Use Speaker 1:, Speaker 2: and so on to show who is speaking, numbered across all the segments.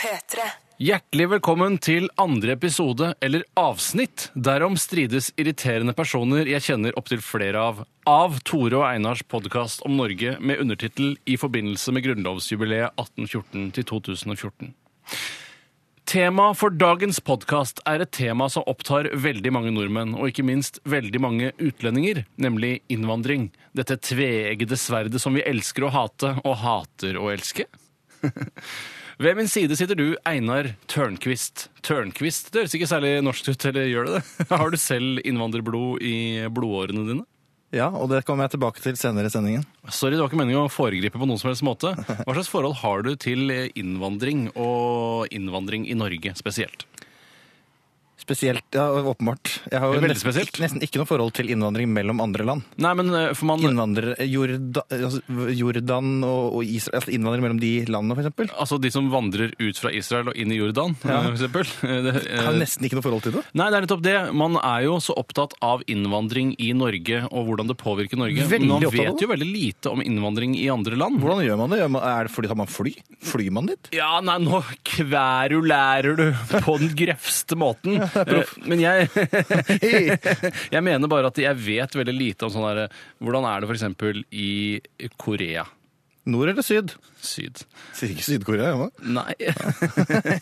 Speaker 1: P3.
Speaker 2: Hjertelig velkommen til andre episode, eller avsnitt, derom strides irriterende personer jeg kjenner opptil flere av, av Tore og Einars podkast om Norge med undertittel I forbindelse med grunnlovsjubileet 1814 til 2014. Tema for dagens podkast er et tema som opptar veldig mange nordmenn, og ikke minst veldig mange utlendinger, nemlig innvandring. Dette tveeggede sverdet som vi elsker å hate, og hater å elske. Ved min side sitter du, Einar Tørnquist. Tørnquist, det høres ikke særlig norsk ut, eller gjør det det? Har du selv innvandrerblod i blodårene dine?
Speaker 3: Ja, og det kommer jeg tilbake til senere i sendingen.
Speaker 2: Sorry, det var ikke meningen å foregripe på noen som helst måte. Hva slags forhold har du til innvandring, og innvandring i Norge spesielt?
Speaker 3: Spesielt, ja, åpenbart. Jeg har jo
Speaker 2: Veldig
Speaker 3: nesten,
Speaker 2: spesielt.
Speaker 3: nesten ikke noe forhold til innvandring mellom andre land.
Speaker 2: Nei, men eh, for man...
Speaker 3: Innvandrere, Jorda, altså, Jordan og, og Israel, altså innvandrere mellom de landene for eksempel.
Speaker 2: Altså de som vandrer ut fra Israel og inn i Jordan,
Speaker 3: Ja.
Speaker 2: eh, for eksempel. Eh, det- eh,
Speaker 3: Jeg har nesten ikke noe forhold til det.
Speaker 2: Nei, det er nettopp det. Man er jo så opptatt av innvandring i Norge og hvordan det påvirker Norge.
Speaker 3: Veldig
Speaker 2: men man
Speaker 3: opptatt
Speaker 2: vet
Speaker 3: av det.
Speaker 2: jo veldig lite om innvandring i andre land.
Speaker 3: Hvordan gjør man det? Gjør man, er det fordi tar man fly? Flyr man dit?
Speaker 2: Ja, nei, nå kverulærer du på den grøvste måten. Eh, Men jeg,
Speaker 3: Hei!
Speaker 2: jeg mener bare at jeg vet veldig lite om sånn derre Hvordan er det f.eks. i Korea
Speaker 3: Nord eller syd?
Speaker 2: syd?
Speaker 3: Sier ikke Syd-Korea, gjør man?
Speaker 2: Nei.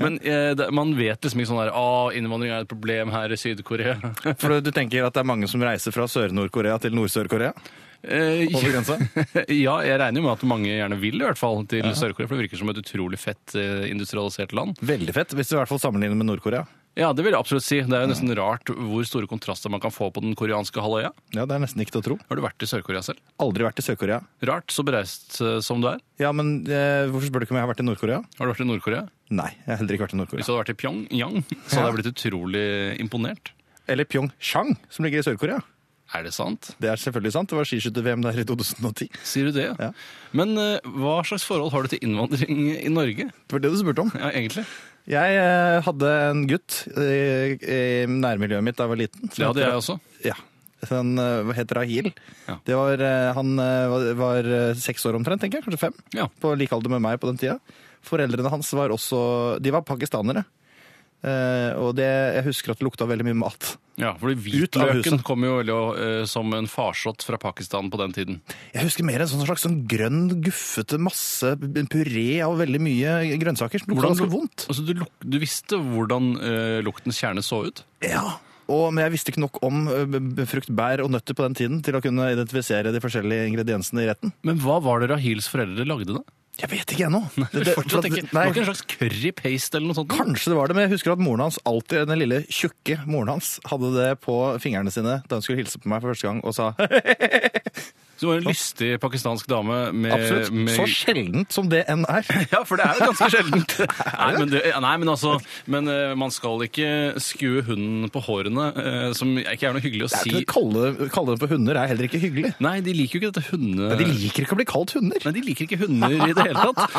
Speaker 2: Men eh, det, man vet liksom ikke sånn der Å, innvandring er et problem her i Syd-Korea.
Speaker 3: For du tenker at det er mange som reiser fra Sør-Nord-Korea til Nord-Sør-Korea?
Speaker 2: Eh,
Speaker 3: Over grensa?
Speaker 2: ja, jeg regner jo med at mange gjerne vil i hvert fall til Sør-Korea, for det virker som et utrolig fett eh, industrialisert land.
Speaker 3: Veldig fett, hvis du i hvert fall sammenligner med Nord-Korea.
Speaker 2: Ja, det vil jeg absolutt si. Det er jo nesten rart hvor store kontraster man kan få på den koreanske halvøya.
Speaker 3: Ja, det er nesten ikke til å tro.
Speaker 2: Har du vært i Sør-Korea selv?
Speaker 3: Aldri vært i Sør-Korea.
Speaker 2: Rart, så bereist eh, som du er.
Speaker 3: Ja, men eh, hvorfor spør du ikke om jeg har vært i Nord-Korea?
Speaker 2: Har du vært i Nord-Korea?
Speaker 3: Nei, jeg har heller ikke vært i
Speaker 2: Hvis
Speaker 3: Nord-Korea.
Speaker 2: du hadde vært i Pyongyang, så hadde jeg blitt utrolig imponert.
Speaker 3: Eller Pyeongchang, som ligger i Sør-Korea.
Speaker 2: Er det sant?
Speaker 3: Det er selvfølgelig sant. Det var skiskytter-VM der i 2010.
Speaker 2: Sier du det?
Speaker 3: Ja.
Speaker 2: Men eh, hva slags forhold har du til innvandring i Norge?
Speaker 3: Det var det du spurte om.
Speaker 2: Ja, egentlig.
Speaker 3: Jeg eh, hadde en gutt eh, i nærmiljøet mitt da jeg var liten.
Speaker 2: Det hadde jeg også.
Speaker 3: Ja. Han eh, hva heter Rahil.
Speaker 2: Ja.
Speaker 3: Det var, eh, han eh, var- var eh, seks år omtrent, tenker jeg. Kanskje fem.
Speaker 2: Ja.
Speaker 3: På like alder med meg på den tida. Foreldrene hans var også De var pakistanere. Eh, og det, jeg husker at det lukta veldig mye mat.
Speaker 2: Ja, fordi
Speaker 3: Ut av
Speaker 2: hvitløken
Speaker 3: huset.
Speaker 2: kom jo veldig eh, som en farsott fra Pakistan på den tiden.
Speaker 3: Jeg husker mer en sånn slags sånn grønn, guffete masse, en puré av veldig mye grønnsaker. som lukta ganske
Speaker 2: lu-
Speaker 3: vondt.
Speaker 2: Altså, du, luk du visste hvordan eh, luktens kjerne så ut?
Speaker 3: Ja. Og, men jeg visste ikke nok om ø, b- b- frukt, bær og nøtter på den tiden til å kunne identifisere de forskjellige ingrediensene i retten.
Speaker 2: Men hva var det Rahils foreldre lagde, da?
Speaker 3: Jeg vet ikke ennå. Det- det- for
Speaker 2: Fortsatt
Speaker 3: at-
Speaker 2: ikke. Det
Speaker 3: nei,
Speaker 2: var ikke en slags curry paste eller noe sånt? da?
Speaker 3: Kanskje det var det, men jeg husker at moren hans alltid, den lille tjukke moren hans, hadde det på fingrene sine da hun skulle hilse på meg for første gang og sa
Speaker 2: Eh, Så det var en lystig pakistansk dame med,
Speaker 3: absolutt,
Speaker 2: med
Speaker 3: så sjeldent som det enn er.
Speaker 2: Ja, for det er jo ganske sjeldent. Nei, men, det, nei, men altså men, eh, Man skal ikke skue hunden på hårene, eh, som ikke er noe hyggelig å
Speaker 3: Det er ikke
Speaker 2: si.
Speaker 3: det, kalle, kalle dem for hunder er heller ikke hyggelig.
Speaker 2: Nei, de liker jo ikke dette hunde...
Speaker 3: De liker ikke å bli kalt hunder.
Speaker 2: Nei, de liker ikke hunder i det hele tatt.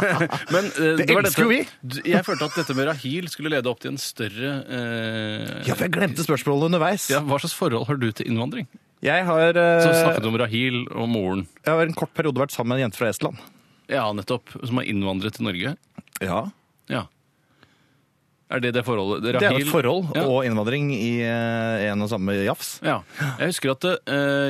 Speaker 2: Men, eh,
Speaker 3: Det
Speaker 2: var
Speaker 3: elsker jo vi.
Speaker 2: dette- Jeg følte at dette med Rahil skulle lede opp til en større eh,
Speaker 3: Ja, for jeg glemte spørsmålet underveis.
Speaker 2: ja, Hva slags forhold har du til innvandring?
Speaker 3: Jeg, har, eh,
Speaker 2: Så snakket du om Rahil og moren.
Speaker 3: jeg har en kort periode vært sammen med en jente fra Estland.
Speaker 2: Ja, nettopp. Som har innvandret til Norge.
Speaker 3: Ja.
Speaker 2: Ja. Er det det forholdet?
Speaker 3: Det er jo
Speaker 2: Rahil-
Speaker 3: et forhold
Speaker 2: ja.
Speaker 3: og innvandring i eh, en og samme jafs.
Speaker 2: ja. Jeg husker at eh,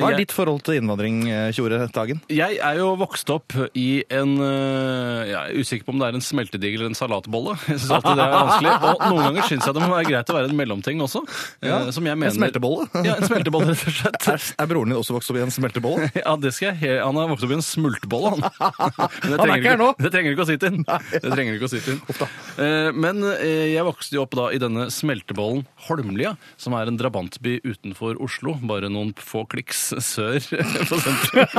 Speaker 3: Hva er
Speaker 2: jeg,
Speaker 3: ditt forhold til innvandring, eh, Tjore Dagen?
Speaker 2: jeg er jo vokst opp i en eh, Jeg er usikker på om det er en smeltedigel eller en salatbolle. Jeg synes alltid det er vanskelig. Og noen ganger syns jeg det må være greit å være en mellomting også. eh,
Speaker 3: Ja,
Speaker 2: som jeg
Speaker 3: En
Speaker 2: mener,
Speaker 3: smeltebolle?
Speaker 2: Ja, en smeltebolle, rett og slett.
Speaker 3: Er, er broren din også vokst opp i en smeltebolle?
Speaker 2: Ja, det skal jeg. he- Han har vokst opp i en smultbolle, han. Men det
Speaker 3: Han er
Speaker 2: trenger
Speaker 3: ikke her
Speaker 2: du
Speaker 3: nå.
Speaker 2: Det trenger du ikke å si til. Det trenger du ikke å si til. Eh, Men eh, jeg vokste jo opp da i denne smeltebollen Holmlia, som er en drabantby utenfor Oslo. Bare noen få kliks sør for sentrum.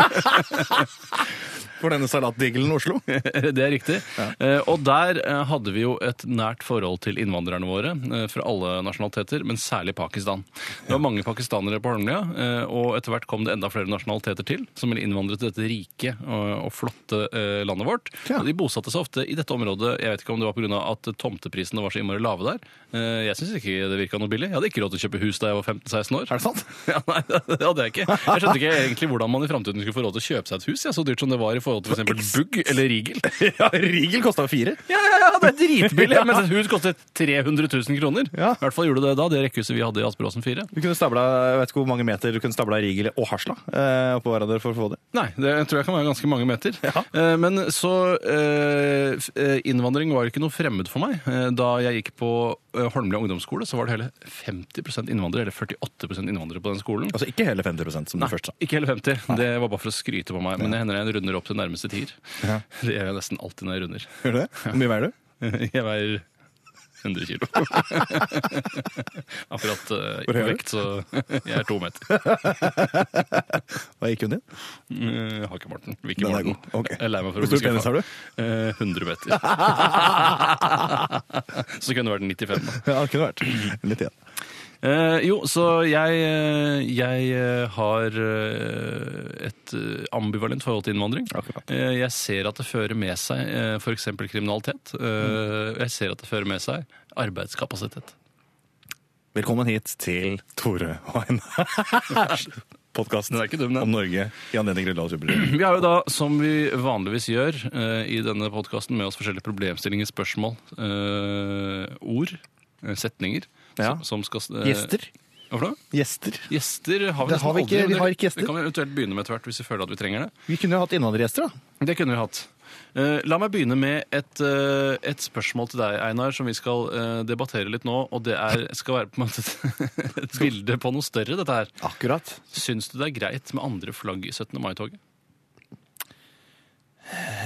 Speaker 3: For denne salatdigelen i Oslo?
Speaker 2: Det er riktig. Eh, Og der eh, hadde vi jo et nært forhold til innvandrerne våre eh, fra alle nasjonaliteter, men særlig Pakistan. Det var mange pakistanere på Holmlia, eh, og etter hvert kom det enda flere nasjonaliteter til som ville innvandre til dette rike og og flotte eh, landet vårt.
Speaker 3: Ja.
Speaker 2: Og de bosatte seg ofte i dette området. Jeg vet ikke om det var pga. at tomteprisene var så innmari lave der. Eh, Jeg syns ikke det virka noe billig. Jeg hadde ikke råd til å kjøpe hus da jeg var 15-16 år.
Speaker 3: Er det sant?
Speaker 2: Ja, nei, det hadde jeg ikke. Jeg skjønte ikke egentlig hvordan man i framtiden skulle få råd til å kjøpe seg et hus, ja, så dyrt som det var i forhold til f.eks. Bugg eller Rigel.
Speaker 3: Ja, Rigel kosta fire.
Speaker 2: Ja, ja, ja, det er dritbillig! Mens et hus kostet 300 000 kroner.
Speaker 3: Ja.
Speaker 2: I hvert fall gjorde det da, det rekkehuset vi hadde i Asperåsen 4.
Speaker 3: Du kunne stabla jeg vet ikke hvor mange meter du kunne stabla Rigel og Hasla eh, oppå hverandre for å få det.
Speaker 2: Nei, det tror jeg kan være ganske mange meter. Eh, Men så eh, f- eh, Innvandring var ikke noe fremmed for meg. Eh, Da jeg gikk på eh, Holmlia ungdomsskole, så var det hele 50 innvandrere, eller 48 innvandrere på den skolen.
Speaker 3: Altså ikke hele 50 som du først sa.
Speaker 2: Ikke hele 50. Det var bare for å skryte på meg. Men det hender jeg runder opp til nærmeste tier. Det gjør jeg nesten alltid når jeg runder.
Speaker 3: Gjør du det? Hvor mye veier du?
Speaker 2: Jeg veier 100 kilo. Akkurat eh, på
Speaker 3: Hvor høy er du?
Speaker 2: vekt, så jeg er to meter.
Speaker 3: Hva gikk hun din?
Speaker 2: Eh, Jeg har ikke Morten. Vicky
Speaker 3: Den er
Speaker 2: Morten.
Speaker 3: god. Ok.
Speaker 2: Jeg er lei meg for å
Speaker 3: Hvor
Speaker 2: bli
Speaker 3: stor penis
Speaker 2: skuffa.
Speaker 3: har du?
Speaker 2: Eh, 100 meter. så kunne det vært 95, da.
Speaker 3: Ja, det kunne vært. Litt igjen.
Speaker 2: Eh, jo, så jeg, eh, jeg eh, har eh, et eh, ambivalent forhold til innvandring.
Speaker 3: Akkurat.
Speaker 2: Eh, jeg ser at det fører med seg eh, for f.eks. kriminalitet. Eh, Jeg ser at det fører med seg arbeidskapasitet.
Speaker 3: Velkommen hit til Tore og Einar. Podkasten
Speaker 2: Den er ikke dum, den.
Speaker 3: om Norge i anledning grunnlovsjubileet.
Speaker 2: Vi har jo da, som vi vanligvis gjør eh, i denne podkasten, med oss forskjellige problemstillinger, spørsmål, eh, ord, eh, setninger.
Speaker 3: Ja.
Speaker 2: Som, som skal, eh,
Speaker 3: Gjester.
Speaker 2: Hva for noe?
Speaker 3: Gjester.
Speaker 2: Gjester har vi
Speaker 3: Det
Speaker 2: nesten
Speaker 3: har vi
Speaker 2: aldri,
Speaker 3: ikke-
Speaker 2: men
Speaker 3: vi
Speaker 2: det-
Speaker 3: har ikke gjester.
Speaker 2: Det kan vi eventuelt begynne med etter hvert hvis vi føler at vi trenger det.
Speaker 3: Vi kunne jo hatt innvandrergjester, da.
Speaker 2: Det kunne vi hatt. Eh, La meg begynne med et, eh, et spørsmål til deg, Einar, som vi skal eh, debattere litt nå. Og det er, skal være på en måte et, et bilde på noe større, dette her.
Speaker 3: Akkurat.
Speaker 2: Syns du det er greit med andre flagg i 17. mai-toget?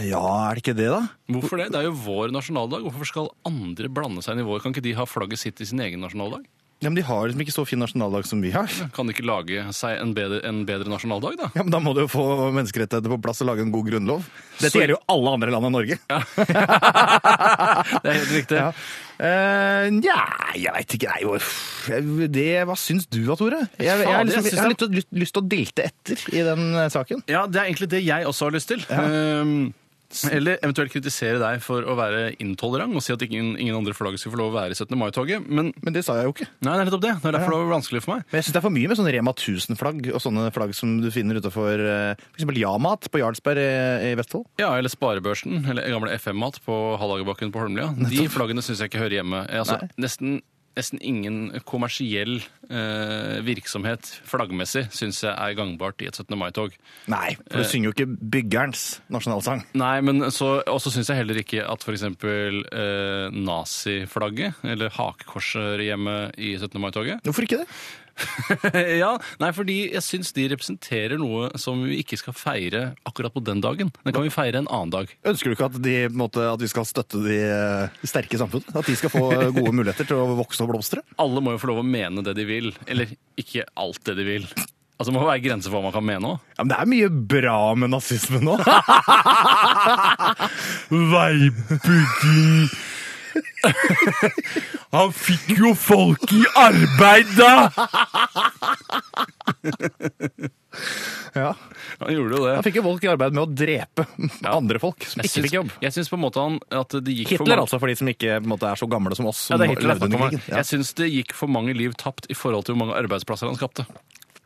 Speaker 3: Ja, er det ikke det, da?
Speaker 2: Hvorfor det? Det er jo vår nasjonaldag. Hvorfor skal andre blande seg inn i vår? Kan ikke de ha flagget sitt i sin egen nasjonaldag?
Speaker 3: Ja, men De har liksom ikke så fin nasjonaldag som vi har.
Speaker 2: Kan de ikke lage seg en bedre, en bedre nasjonaldag, da?
Speaker 3: Ja, men Da må du jo få menneskerettigheter på plass og lage en god grunnlov. Dette
Speaker 2: Så-
Speaker 3: gjelder jo alle andre land enn Norge.
Speaker 2: Det er helt riktig.
Speaker 3: Ja. Eh, Nja, jeg veit ikke. Nei, uff. det, hva syns du da, Tore? Jeg, jeg,
Speaker 2: Fader,
Speaker 3: har
Speaker 2: jeg
Speaker 3: liksom,
Speaker 2: syns
Speaker 3: jeg har lyst til å- lyst til å dilte etter i den eh, saken.
Speaker 2: Ja, det er egentlig det jeg også har lyst til. Ehm, eller eventuelt kritisere deg for å være intolerant og si at ingen, ingen andre flagg skal få lov å være i 17. mai-toget. Men
Speaker 3: Men det sa jeg jo ikke.
Speaker 2: nei, det er nettopp det. Det er derfor det var vanskelig for meg.
Speaker 3: Men jeg syns det er for mye med sånne Rema 1000-flagg og sånne flagg som du finner utafor f.eks. Yamat på Jarlsberg eh, i, i Vestfold.
Speaker 2: Ja, Eller Sparebørsen, eller gamle FM-mat på Hallagerbakken på Holmlia. De flaggene syns jeg ikke hører hjemme. Altså,
Speaker 3: Nei.
Speaker 2: nesten, nesten ingen kommersiell eh, virksomhet flaggmessig syns jeg er gangbart i et 17. mai-tog.
Speaker 3: Nei, for du synger jo ikke byggerens nasjonalsang.
Speaker 2: Nei, men så også syns jeg heller ikke at f.eks. Eh, naziflagget, eller hakekorset hjemme i 17. mai-toget
Speaker 3: Hvorfor ikke det?
Speaker 2: ja, nei, fordi jeg syns de representerer noe som vi ikke skal feire akkurat på den dagen. Den kan vi feire en annen dag.
Speaker 3: Ønsker du ikke at, de, på en måte, at vi skal støtte de eh, sterke i samfunnet? At de skal få eh, gode muligheter til å vokse og blomstre?
Speaker 2: Alle må jo få lov å mene det de vil. Eller ikke alt det de vil. Altså, Det må være grenser for hva man kan mene òg.
Speaker 3: Ja, men det er mye bra med nazisme nå. Veibygging Han fikk jo folk i arbeid, da! Ja,
Speaker 2: Han gjorde jo det.
Speaker 3: Han fikk jo folk i arbeid med å drepe andre folk som
Speaker 2: Jeg
Speaker 3: ikke
Speaker 2: syns-
Speaker 3: fikk jobb.
Speaker 2: Jeg syns på en måte han at det gikk for
Speaker 3: Hitler,
Speaker 2: mange-
Speaker 3: altså, for de som ikke på en måte, er så gamle som oss.
Speaker 2: Ja,
Speaker 3: Som
Speaker 2: det er Hitler. jeg
Speaker 3: levde
Speaker 2: snakker
Speaker 3: under
Speaker 2: om her.
Speaker 3: krigen. Ja,
Speaker 2: Jeg syns det gikk for mange liv tapt i forhold til hvor mange arbeidsplasser han skapte.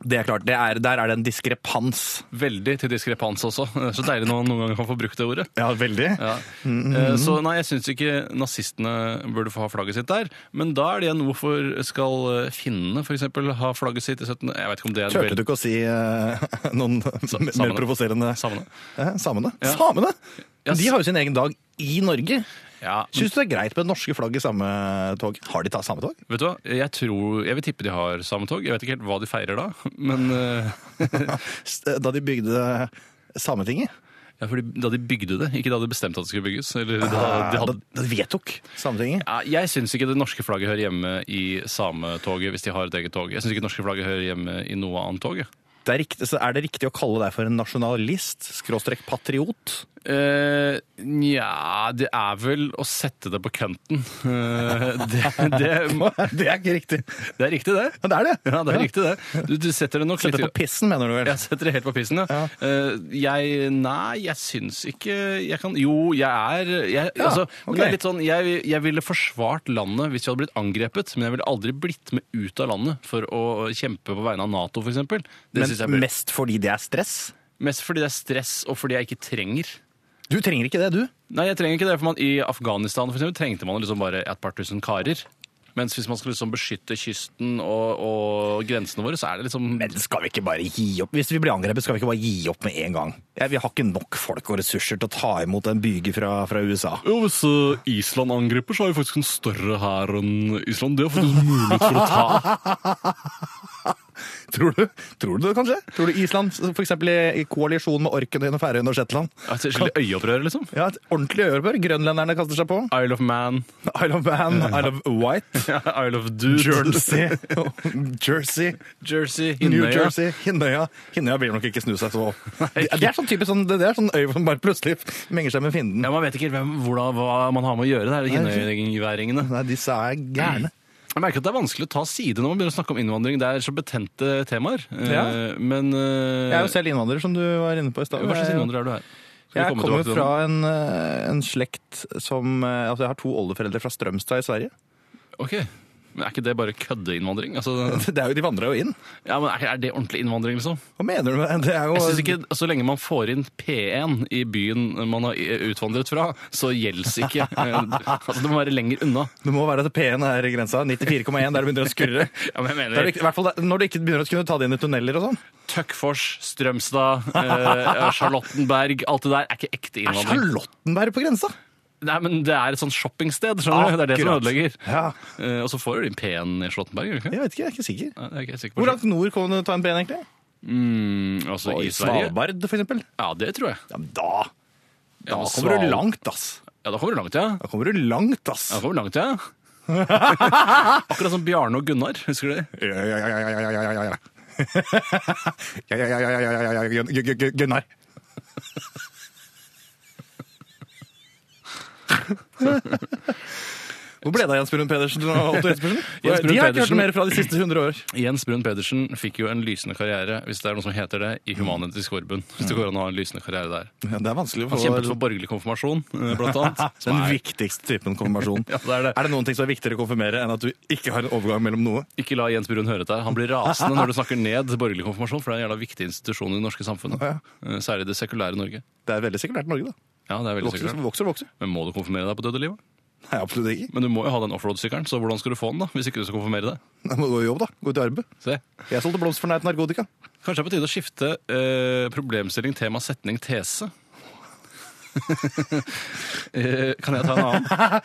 Speaker 3: det er klart, det er, Der er det en diskrepans.
Speaker 2: Veldig til diskrepans også. Det er Så deilig når man noen ganger kan få brukt det ordet.
Speaker 3: Ja, veldig.
Speaker 2: Ja. Eh, Så
Speaker 3: Mm-hmm.
Speaker 2: nei, jeg syns ikke nazistene burde få ha flagget sitt der. Men da er det igjen hvorfor skal eh, finnene f.eks. ha flagget sitt i 17. Jeg vet ikke om det er
Speaker 3: Turte du ikke å si eh, noen mer
Speaker 2: samene.
Speaker 3: provoserende
Speaker 2: Samene.
Speaker 3: Eh, Samene?
Speaker 2: Ja.
Speaker 3: Samene!
Speaker 2: Ja,
Speaker 3: De
Speaker 2: s-
Speaker 3: har jo sin egen dag i Norge.
Speaker 2: Ja, men
Speaker 3: Syns du det er greit med det norske flagget i samme tog? Har de tatt samme tog?
Speaker 2: vet du hva? Jeg, tror, jeg vil tippe de har samtog. Jeg vet ikke helt hva de feirer da. Men eh,
Speaker 3: S- eh, Da de bygde Sametinget?
Speaker 2: ja, fordi da de bygde det, ikke da de bestemte at det skulle bygges. Eller da
Speaker 3: Eh,
Speaker 2: de
Speaker 3: Da,
Speaker 2: hadde...
Speaker 3: da de vedtok Sametinget?
Speaker 2: ja, jeg syns ikke det norske flagget hører hjemme i sametoget hvis de har et eget tog. Jeg syns ikke det norske flagget hører hjemme i noe annet tog. jeg.
Speaker 3: Det er, riktig, så er det riktig å kalle deg for en nasjonalist? Skråstrek patriot?
Speaker 2: Eh, Nja, det er vel å sette det på kønten. Eh, det, det,
Speaker 3: Det er ikke riktig.
Speaker 2: det er riktig, det.
Speaker 3: Men det er det!
Speaker 2: Ja, det er riktig, det. Du, du setter det nok
Speaker 3: Sette på
Speaker 2: litt
Speaker 3: pissen, mener du vel?
Speaker 2: jeg setter det helt på pissen, ja. Eh, jeg Nei, jeg syns ikke jeg kan Jo, jeg er jeg,
Speaker 3: Ja,
Speaker 2: altså, men
Speaker 3: ok.
Speaker 2: det er litt sånn, jeg, jeg ville forsvart landet hvis jeg hadde blitt angrepet, men jeg ville aldri blitt med ut av landet for å kjempe på vegne av Nato, f.eks. Det syns jeg
Speaker 3: Men
Speaker 2: bør
Speaker 3: mest fordi det er stress?
Speaker 2: Mest fordi det er stress, og fordi jeg ikke trenger.
Speaker 3: Du trenger ikke det, du.
Speaker 2: Nei, jeg trenger ikke det, for man, I Afghanistan for eksempel, trengte man liksom bare et par tusen karer. Mens hvis man skal liksom beskytte kysten og, og grensene våre, så er det liksom
Speaker 1: Men skal vi ikke bare gi opp? Hvis vi blir angrepet, skal vi ikke bare gi opp med en gang? Ja, vi har ikke nok folk og ressurser til å ta imot en byge fra, fra USA.
Speaker 2: Jo, Hvis eh, Island angriper, så har vi faktisk en større hær enn Island. Det har faktisk mulighet for å ta.
Speaker 3: Tror du, tror du det, kanskje? Tror du Island, for eksempel i, i koalisjon med Orknøyene, Færøyene og Shetland?
Speaker 2: Altså, Et skikkelig øyeopprør, liksom.
Speaker 3: Ja, et ordentlig ørebør. Grønlenderne kaster seg på.
Speaker 2: Isle of Man,
Speaker 3: Isle of Man, Isle of White,
Speaker 2: Isle of Dude,
Speaker 3: Jersey, Jersey
Speaker 2: Jersey,
Speaker 3: New
Speaker 2: Hinnøya.
Speaker 3: Jersey, Hinnøya. Hinnøya vil nok ikke snu seg så Det det er sånn typisk sånn, det er sånn øy som bare plutselig menger seg med fienden.
Speaker 2: Ja, Man vet ikke hvem, hvordan, hva man har med å gjøre, det her hinnøyværingene.
Speaker 3: Nei, disse er gærne.
Speaker 2: Jeg merker at det er vanskelig å ta side når man begynner å snakke om innvandring. Det er så betente temaer. Eh,
Speaker 3: Ja.
Speaker 2: Men eh,
Speaker 3: Jeg er jo selv innvandrer, som du var inne på i stad.
Speaker 2: Hva slags
Speaker 3: Jeg er jo-
Speaker 2: innvandrer er du her? Skal vi
Speaker 3: Jeg
Speaker 2: komme
Speaker 3: kommer
Speaker 2: tilbake til
Speaker 3: fra en, eh, en slekt som eh, Altså, jeg har to oldeforeldre fra Strømstad i Sverige.
Speaker 2: den? Ok, men Er ikke det bare køddeinnvandring? Altså,
Speaker 3: Det er jo, de vandrer jo inn.
Speaker 2: ja, men er, er det ordentlig innvandring, liksom?
Speaker 3: Hva mener du med det? det? Er jo,
Speaker 2: Jeg synes ikke, Så lenge man får inn P1 i byen man har utvandret fra, så gjelds ikke. Eh, altså, Det må være lenger unna.
Speaker 3: Det må være at P-en er grensa. 94,1 der det begynner å skurre.
Speaker 2: Ja, men jeg
Speaker 3: Det er det
Speaker 2: mener
Speaker 3: ikke- I hvert fall det- når du ikke begynner å kunne ta det inn i tunneler og sånn.
Speaker 2: Tøkkfors, Strømstad, eh, Charlottenberg Alt det der er ikke ekte
Speaker 3: Er
Speaker 2: innvandring.
Speaker 3: Charlottenberg på grensa?
Speaker 2: Nei, men Det er et sånt shoppingsted. skjønner du? Det er det som
Speaker 3: Akkurat.
Speaker 2: ødelegger.
Speaker 3: Ja,
Speaker 2: Eh, og så får du din P1 i Charlottenberg. gjør du ikke?
Speaker 3: Jeg vet ikke, jeg er ikke sikker.
Speaker 2: Nei, det er ikke jeg sikker på.
Speaker 3: Hvor langt nord kan du ta en P-en, egentlig?
Speaker 2: Mm, altså
Speaker 3: Oi,
Speaker 2: I Sverige?
Speaker 3: Svalbard, for eksempel?
Speaker 2: Ja, det tror jeg.
Speaker 3: Ja, men da
Speaker 2: Ja,
Speaker 3: da
Speaker 2: men
Speaker 3: kommer du
Speaker 2: Sval-
Speaker 3: langt, ass.
Speaker 2: Ja, Da kommer du langt, ja.
Speaker 3: Da kommer du langt, ass.
Speaker 2: Ja, Da kommer du langt, ja. Akkurat som Bjarne og Gunnar. husker du det?
Speaker 3: Ja, ja, ja, ja, ja, ja, ja, ja, ja. Ja, ja, ja, ja, ja, ja, ja, ja, Gun- Gun- Gun- Gunnar. Hvor ble det av Jens Brun Pedersen og Otto Jespersen?
Speaker 2: Jens Brun
Speaker 3: De har ikke hørt
Speaker 2: Pedersen-
Speaker 3: mer fra de siste 100 år.
Speaker 2: Jens Brun Pedersen fikk jo en lysende karriere hvis det er noe som heter det, i Human-Etisk Forbund. Hvis det går an å ha en lysende karriere der.
Speaker 3: Ja, det er vanskelig å
Speaker 2: Han
Speaker 3: få
Speaker 2: kjempet for borgerlig konfirmasjon, eh, blant annet. som
Speaker 3: den
Speaker 2: er-
Speaker 3: viktigste typen konfirmasjon.
Speaker 2: Ja, det er det.
Speaker 3: Er det noen ting som er viktigere å konfirmere enn at du ikke har en overgang mellom noe?
Speaker 2: Ikke la Jens Brun høre deg. Han blir rasende når du snakker ned borgerlig konfirmasjon, for det er en jævla viktig institusjon i det norske samfunnet.
Speaker 3: Ja.
Speaker 2: Eh, Særlig det sekulære Norge.
Speaker 3: Det er veldig sekulært i Norge, da.
Speaker 2: Ja, det er veldig
Speaker 3: Vokser
Speaker 2: sekulært.
Speaker 3: vokser. vokser.
Speaker 2: Men må du konfirmere deg på døde livet?
Speaker 3: Nei, absolutt ikke.
Speaker 2: Men du må jo ha den offroad-sykkelen, så hvordan skal du få den da, hvis ikke du skal konfirmere deg?
Speaker 3: Da må du gå i jobb, da. Gå ut i arbeid.
Speaker 2: Se.
Speaker 3: Jeg solgte blomster for nei til narkotika.
Speaker 2: Kanskje det er på tide å skifte eh, problemstilling, tema, setning, tese. Eh, kan jeg ta en annen?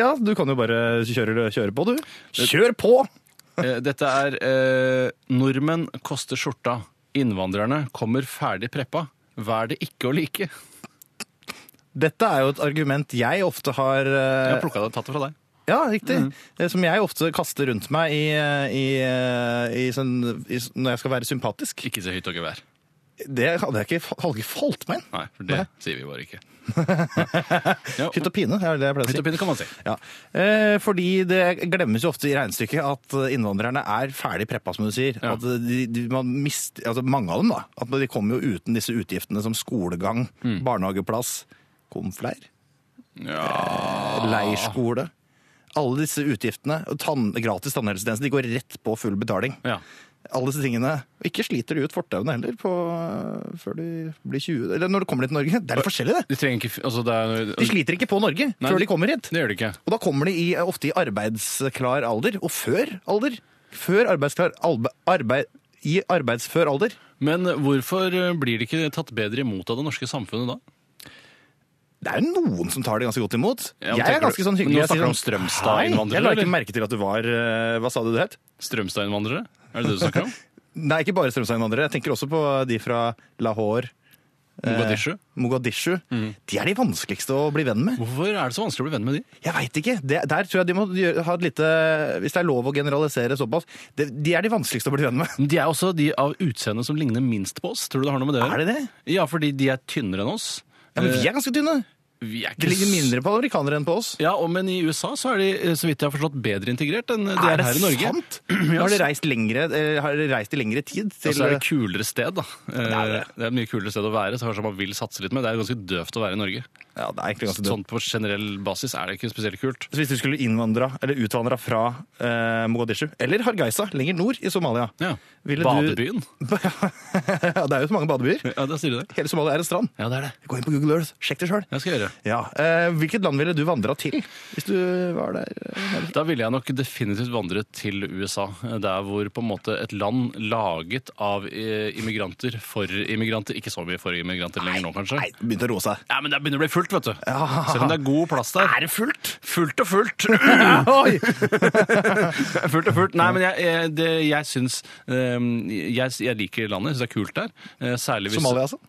Speaker 3: Ja, du kan jo bare kjøre, kjøre på, du. Kjør på!
Speaker 2: Eh, dette er eh, Nordmenn koster skjorta. Innvandrerne kommer ferdig preppa. Hva er det ikke å like? Jeg
Speaker 3: Dette er jo et argument jeg ofte har
Speaker 2: har
Speaker 3: eh,
Speaker 2: plukket det, tatt det fra deg.
Speaker 3: Ja, riktig. Eh, Som jeg ofte kaster rundt meg i, eh, i, eh, i, sånn, i s- når jeg skal være sympatisk.
Speaker 2: Ikke så høyt og gevær.
Speaker 3: Det hadde jeg ikke, fa- hadde ikke falt meg inn.
Speaker 2: Nei, for det sier vi bare ikke. Ja.
Speaker 3: Hytt og pine, det er det jeg pleier å
Speaker 2: Hytt
Speaker 3: si.
Speaker 2: og pinne kan man si.
Speaker 3: Ja. Eh, fordi det glemmes jo ofte i regnestykket at innvandrerne er ferdig preppa, som du sier.
Speaker 2: Ja.
Speaker 3: At de, de, man mist, altså mange av dem, da. At de kommer jo uten disse utgiftene som skolegang, barnehageplass, komfleir,
Speaker 2: Ah.
Speaker 3: leirskole. Alle disse utgiftene. og Tann, gratis tannhelsetjeneste. De går rett på full betaling.
Speaker 2: Ja.
Speaker 3: Alle disse tingene. Og ikke sliter de ut fortauene heller på, øh, før de blir 20. Eller når de kommer litt til Norge. Det er litt forskjellig, det.
Speaker 2: De trenger ikke... Altså, det er...
Speaker 3: De sliter ikke på Norge
Speaker 2: Nei,
Speaker 3: før
Speaker 2: de-
Speaker 3: de kommer hit.
Speaker 2: Det gjør de ikke.
Speaker 3: Og da kommer de i, ofte i arbeidsklar alder, og før alder. Før arbeidsklar albe, arbeid, I arbeidsfør alder.
Speaker 2: Men hvorfor eh, blir de ikke tatt bedre imot av det norske samfunnet da?
Speaker 3: Det er jo noen som tar det ganske godt imot.
Speaker 2: Ja, men
Speaker 3: jeg
Speaker 2: tenker
Speaker 3: er ganske
Speaker 2: du-
Speaker 3: sånn hyggelig.
Speaker 2: Nå
Speaker 3: Jeg sier
Speaker 2: snakker du om
Speaker 3: sånn,
Speaker 2: Strømstad-innvandrere,
Speaker 3: Hei, jeg la
Speaker 2: eller?
Speaker 3: ikke merke til at du var eh, Hva sa du du het?
Speaker 2: Strømstad-innvandrere? Er det det du snakker om?
Speaker 3: Nei, ikke bare Strømstad-innvandrere. Jeg tenker også på de fra Lahore, eh,
Speaker 2: Mogadishu? Mm.
Speaker 3: Mogadishu. De er de vanskeligste å bli venn med.
Speaker 2: Hvorfor er det så vanskelig å bli venn med de?
Speaker 3: Jeg veit ikke. Det, der tror jeg de må gjøre, ha et lite Hvis det er lov å generalisere såpass. De, de er de vanskeligste å bli venn med.
Speaker 2: De er også de av utseendet som ligner minst på oss. Tror du det har noe med det å
Speaker 3: Er
Speaker 2: gjøre?
Speaker 3: det det?
Speaker 2: Ja, fordi de er tynnere enn oss.
Speaker 3: Ja, men vi er ganske tynne.
Speaker 2: Eh, vi er ikke
Speaker 3: Det ligger
Speaker 2: s-
Speaker 3: mindre på amerikanere enn på oss.
Speaker 2: Ja, og men i USA så er de, eh, så vidt jeg har forstått, bedre integrert enn de er,
Speaker 3: Er det
Speaker 2: her i Norge.
Speaker 3: sant?
Speaker 2: Ja,
Speaker 3: Har de reist, lengre, eh, har de reist i lengre tid?
Speaker 2: Ja,
Speaker 3: Til,
Speaker 2: så er det et kulere sted, da. Eh,
Speaker 3: er det.
Speaker 2: Det er et mye kulere sted å være, så kanskje man vil satse litt mer. Det er jo ganske døvt å være i Norge.
Speaker 3: eh, ja, Altså, det er egentlig ganske dumt.
Speaker 2: Sånn på generell basis er det ikke spesielt kult.
Speaker 3: Så hvis du skulle innvandra, eller utvandra fra eh, Mogadishu, eller Hargeisa, lenger nord i Somalia
Speaker 2: Ja.
Speaker 3: Ville du-
Speaker 2: Badebyen.
Speaker 3: Ja, Det er jo så mange badebyer.
Speaker 2: Ja, da sier du det.
Speaker 3: Hele Somalia er en strand.
Speaker 2: Ja, det er det.
Speaker 3: Gå inn på Google Earth, sjekk det sjøl.
Speaker 2: Jeg skal gjøre.
Speaker 3: Ja. Eh, hvilket land ville du vandra til hvis du var der?
Speaker 2: Da ville jeg nok definitivt vandret til USA. eh, Der hvor på en måte et land laget av eh, immigranter for immigranter Ikke så mye for immigranter lenger nå, kanskje.
Speaker 3: Nei, det begynte å roe seg.
Speaker 2: Ja, men det begynner å bli fullt, vet du.
Speaker 3: Ah.
Speaker 2: Selv om det er god plass der. Er det fullt? Fullt og fullt.
Speaker 3: Oi!
Speaker 2: fullt og fullt. Nei, men jeg, jeg, det, jeg syns ehm, jeg, jeg liker landet. Jeg syns det er kult der. Eh, Særlig hvis
Speaker 3: Somalia, altså.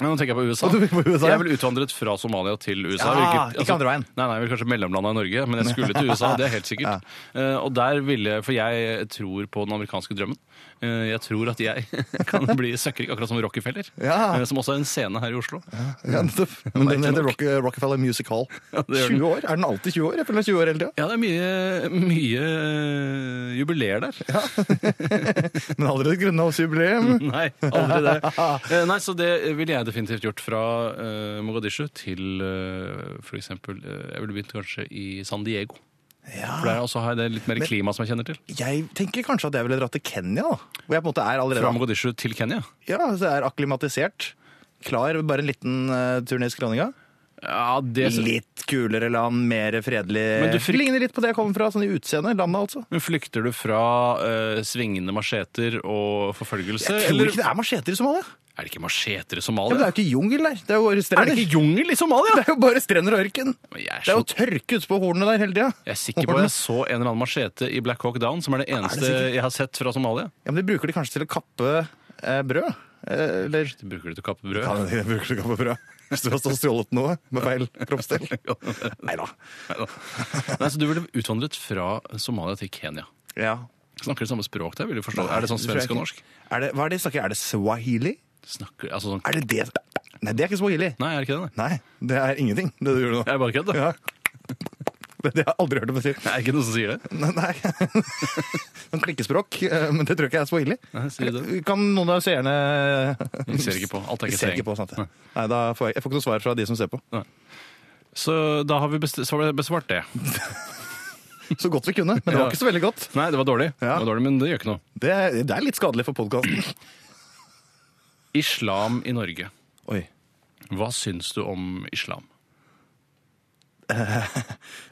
Speaker 2: Ja, nå tenker jeg på USA.
Speaker 3: Å, du vil på USA, ja.
Speaker 2: Jeg ville utvandret fra Somalia til USA.
Speaker 3: Ja,
Speaker 2: Jeg ville
Speaker 3: ikke andre veien.
Speaker 2: Nei, nei, jeg ville kanskje mellomlanda i Norge, men jeg skulle til USA. det er helt sikkert. Eh, og der ville For jeg tror på den amerikanske drømmen. Eh, jeg tror at jeg kan bli søkkrik, akkurat som Rockefeller.
Speaker 3: Ja.
Speaker 2: eh, som også er en scene her i Oslo.
Speaker 3: Ja, nettopp. Men
Speaker 2: det er
Speaker 3: den
Speaker 2: ikke
Speaker 3: heter
Speaker 2: nok.
Speaker 3: Rock, Rockefeller Music Hall.
Speaker 2: det gjør
Speaker 3: 20 år? Er den alltid 20 år? Jeg føler den er 20 år hele tida.
Speaker 2: Ja, det er mye, mye eh, jubileer der.
Speaker 3: Men allerede grunnlovsjubileum.
Speaker 2: Nei, aldri det. Eh, Nei, så det ville jeg definitivt gjort fra eh, Mogadishu til eh, for eksempel eh, Jeg ville begynt kanskje i San Diego. For
Speaker 3: Ja.
Speaker 2: der også har jeg det litt mer klima som jeg kjenner til.
Speaker 3: Jeg tenker kanskje at jeg ville dratt til Kenya, da. Hvor jeg på en måte er
Speaker 2: Fra
Speaker 3: allerede
Speaker 2: Mogadishu til Kenya?
Speaker 3: ja, så jeg er akklimatisert. Klar, bare en liten eh, tur ned i skråninga.
Speaker 2: Ja, det
Speaker 3: Litt kulere land, mer fredelig.
Speaker 2: Men du frykt-
Speaker 3: Ligner litt på det jeg kommer fra, sånn i utseende. Landet, altså.
Speaker 2: Men Flykter du fra eh, svingende macheter og forfølgelse?
Speaker 3: Jeg tror ikke det er macheter i Somalia.
Speaker 2: er det ikke macheter i
Speaker 3: Ja, men det
Speaker 2: Somalia?
Speaker 3: er jo ikke jungel der. Det er jo bare
Speaker 2: er
Speaker 3: strender.
Speaker 2: det ikke jungel i Somalia?!
Speaker 3: Det er jo bare strender og ørken.
Speaker 2: Men Jeg er,
Speaker 3: Det er
Speaker 2: så,
Speaker 3: jo tørke ute på hornene der hele tida.
Speaker 2: jeg er sikker på at jeg så en eller annen machete i Black Hawk Down, som er det eneste jeg har sett fra Somalia.
Speaker 3: Ja, men de bruker de kanskje til å kappe eh, brød? Eh, eller
Speaker 2: De bruker det til å kappe brød.
Speaker 3: Ja, de bruker til å kappe brød. Hvis du har stått og stjålet noe med feil kroppsdel. Nei da.
Speaker 2: Neida. Nei, så du ville utvandret fra Somalia til Kenya.
Speaker 3: Ja.
Speaker 2: Snakker de samme språk der? vil du forstå? Er det sånn
Speaker 3: tror jeg
Speaker 2: svensk og
Speaker 3: ikke.
Speaker 2: norsk?
Speaker 3: Er det, hva er det de snakker? Er det swahili?
Speaker 2: Snakker, altså sånn...
Speaker 3: Er det det Nei, det er ikke swahili.
Speaker 2: Nei, er det ikke det? nei?
Speaker 3: Nei, det er ingenting, det du gjør nå.
Speaker 2: Jeg er bare kødd, da.
Speaker 3: Ja. Det, det har jeg aldri hørt om å si.
Speaker 2: Det er ikke noen som sier det.
Speaker 3: Nei. nei. Sånn klikkespråk, eh, men det tror jeg ikke er swahili.
Speaker 2: Nei, sier det.
Speaker 3: Kan noen av seerne
Speaker 2: Vi ser ikke på. Alt er
Speaker 3: Vi
Speaker 2: ikke
Speaker 3: ser ikke på, sant? Nei, da får jeg, jeg får ikke noe svar fra de som ser på.
Speaker 2: Så da har vi best- så har vi besvart det.
Speaker 3: Så godt vi kunne, men det
Speaker 2: Ja.
Speaker 3: var ikke så veldig godt.
Speaker 2: Nei, det var dårlig.
Speaker 3: Ja.
Speaker 2: Det var dårlig men det gjør ikke noe.
Speaker 3: Det, det er litt skadelig for podkasten.
Speaker 2: Islam i Norge.
Speaker 3: Oi.
Speaker 2: Hva syns du om islam?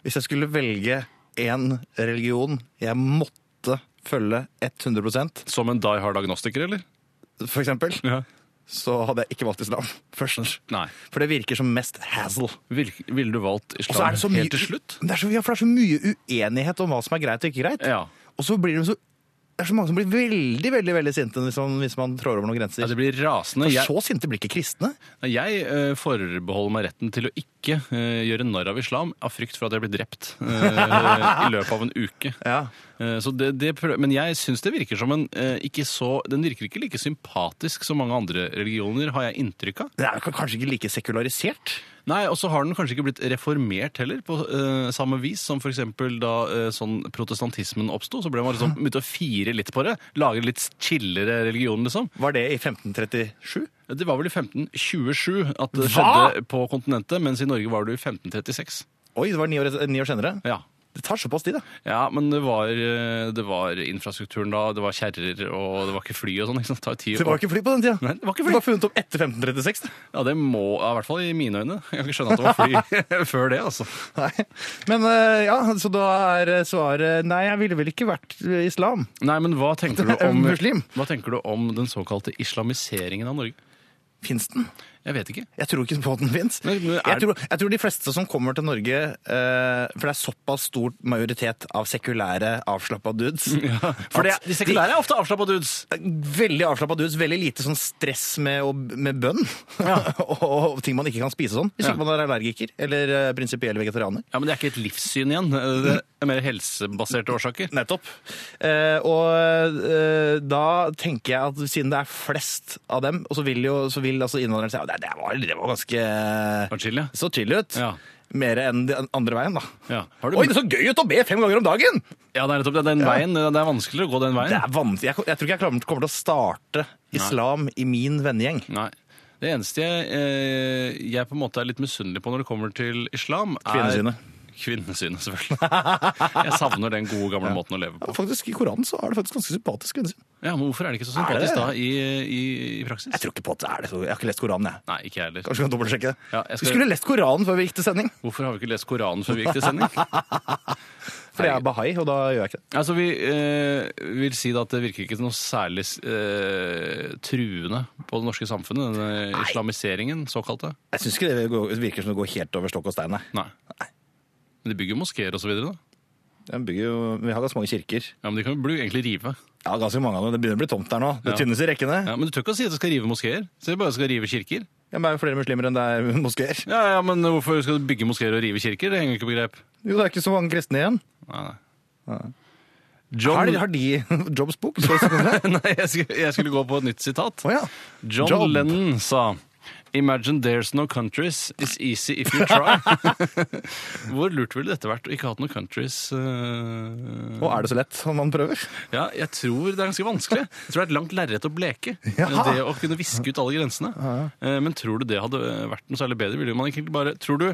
Speaker 3: Hvis jeg skulle velge én religion jeg måtte følge 100
Speaker 2: Som en die hard agnostiker, eller?
Speaker 3: for eksempel, så hadde jeg ikke valgt islam først.
Speaker 2: Nei.
Speaker 3: For det virker som mest hassle.
Speaker 2: Vil- Ville du valgt
Speaker 3: Og så
Speaker 2: islam
Speaker 3: er det så mye,
Speaker 2: helt til slutt?
Speaker 3: Det er så, ja, for det er så mye uenighet om hva som er greit og ikke greit.
Speaker 2: Ja.
Speaker 3: Og så blir det så det er så mange som blir veldig veldig, veldig sinte hvis man, hvis man trår over noen
Speaker 2: Ja,
Speaker 3: grenser.
Speaker 2: det blir rasende.
Speaker 3: For
Speaker 2: Jeg-
Speaker 3: så sinte blir ikke kristne.
Speaker 2: Jeg eh, forbeholder meg retten til å ikke eh, gjøre narr av islam av frykt for at jeg blir drept eh, i løpet av en uke.
Speaker 3: Ja.
Speaker 2: Eh, så det, det prø- men jeg syns det virker som en eh, ikke så Den virker ikke like sympatisk som mange andre religioner, har jeg inntrykk av.
Speaker 3: Det er jo kanskje ikke like sekularisert.
Speaker 2: Nei, Og så har den kanskje ikke blitt reformert heller, på eh, samme vis som f.eks. da eh, sånn protestantismen oppsto. Så ble man liksom begynte å fire litt på det. Lage litt chillere religion, liksom.
Speaker 3: Var det i 1537?
Speaker 2: Det var vel i 1527 at det
Speaker 3: Hva?!
Speaker 2: skjedde på kontinentet, mens i Norge var det i 1536.
Speaker 3: Oi, det var ni år, ni år senere.
Speaker 2: Ja.
Speaker 3: Det tar såpass tid, da.
Speaker 2: Ja, men det var, eh, det var infrastrukturen da, det var kjerrer, og det var ikke fly og sånn. ikke sant? Det tar jo ti
Speaker 3: Det var
Speaker 2: år.
Speaker 3: ikke fly på den tida.
Speaker 2: Nei, det var ikke
Speaker 3: Det
Speaker 2: fly.
Speaker 3: var funnet opp etter 1536. da.
Speaker 2: Ja, det må, ja, i hvert fall i mine øyne. Jeg kan ikke skjønne at det var fly før det, altså.
Speaker 3: Nei. Men eh, ja, så da er eh, svaret Nei, jeg ville vel ikke vært eh, islam.
Speaker 2: Nei, men hva tenker du om,
Speaker 3: Muslim.
Speaker 2: hva tenker du om den såkalte islamiseringen av Norge?
Speaker 3: Fins den?
Speaker 2: Jeg vet ikke.
Speaker 3: Jeg tror ikke på den fins.
Speaker 2: Men- men er-
Speaker 3: Jeg, tror- jeg tror de fleste som kommer til Norge eh, For det er såpass stor majoritet av sekulære, avslappa dudes.
Speaker 2: For det,
Speaker 3: at
Speaker 2: de sekulære er ofte avslappa dudes.
Speaker 3: Veldig avslappa dudes, veldig lite sånn stress med, å- med bønn. og, og ting man ikke kan spise sånn. Hvis
Speaker 2: Ja.
Speaker 3: ikke man er allergiker eller eh, prinsipiell vegetarianer.
Speaker 2: Ja, men det er ikke et livssyn igjen. Det er mer helsebaserte årsaker.
Speaker 3: Nettopp. Eh, og eh, da tenker jeg at siden det er flest av dem, og så vil jo så vil altså innvandreren si at det, det, var, det var ganske
Speaker 2: Var det chill, ja?
Speaker 3: Så chill ut.
Speaker 2: Ja.
Speaker 3: Mer enn den andre veien, da.
Speaker 2: Ja. Har du-
Speaker 3: Oi, det er så gøy ut å be fem ganger om dagen!
Speaker 2: ja, det er nettopp det. Den veien. Det er vanskeligere å gå den veien.
Speaker 3: Det er vanskelig. Jeg, jeg tror ikke jeg kommer kommer til å starte islam i min vennegjeng.
Speaker 2: Nei. Det eneste jeg, eh, jeg på en måte er litt misunnelig på når det kommer til islam, er
Speaker 3: Kvinnesynet.
Speaker 2: Kvinnesynet, selvfølgelig. Jeg savner den gode, gamle måten å leve på.
Speaker 3: Faktisk, I Koranen så er det faktisk ganske sympatisk kvinnesyn.
Speaker 2: Ja, men Hvorfor er det ikke så
Speaker 3: Er det
Speaker 2: sympatisk
Speaker 3: det?
Speaker 2: da i, i, i praksis?
Speaker 3: Jeg tror ikke på at det er det. så- Jeg har ikke lest Koranen, jeg.
Speaker 2: Nei, ikke jeg heller.
Speaker 3: Kanskje vi kan dobbeltsjekke det.
Speaker 2: Ja, jeg skal-
Speaker 3: Vi skulle lest Koranen før vi gikk til sending.
Speaker 2: Hvorfor har vi ikke lest Koranen før vi gikk til sending?
Speaker 3: For jeg er bahai, og da gjør jeg ikke det.
Speaker 2: Altså, Vi eh, vil si da at det virker ikke noe særlig eh, truende på det norske samfunnet, denne islamiseringen såkalte.
Speaker 3: Jeg syns ikke det går- det virker som det går helt over stokk og stein. nei.
Speaker 2: Nei. Men de bygger jo moskeer osv. da.
Speaker 3: Den bygger jo- Vi har ganske mange kirker.
Speaker 2: Ja, men de kan jo bli- egentlig rive.
Speaker 3: Ja, ganske mange av dem. Det begynner å bli tomt der nå. Det
Speaker 2: Ja.
Speaker 3: tynnes i rekkene.
Speaker 2: Ja, Men du tør ikke å si at du skal rive moskeer. Så det bare skal rive kirker.
Speaker 3: Ja, men det er jo flere muslimer enn det er moskeer.
Speaker 2: Ja, ja, Men hvorfor skal du bygge moskeer og rive kirker? Det henger jo ikke på grep.
Speaker 3: Jo, det er ikke så mange kristne igjen.
Speaker 2: Nei, nei.
Speaker 3: Har
Speaker 2: John,
Speaker 3: de, har de Jobs bok? Står det sånn der?
Speaker 2: nei, jeg skulle, jeg skulle gå på et nytt sitat.
Speaker 3: Å ja.
Speaker 2: John
Speaker 3: Job.
Speaker 2: Lennon sa Imagine there's no countries. It's easy if you try. Hvor lurt ville dette vært å ikke ha hatt noen countries? eh?
Speaker 3: Og er det så lett som man prøver?
Speaker 2: Ja, jeg tror det er ganske vanskelig. Jeg tror det er et langt lerret å bleke.
Speaker 3: Ja.
Speaker 2: Det å kunne viske ut alle grensene. Eh, Men tror du det hadde vært noe særlig bedre? Ville man egentlig bare Tror du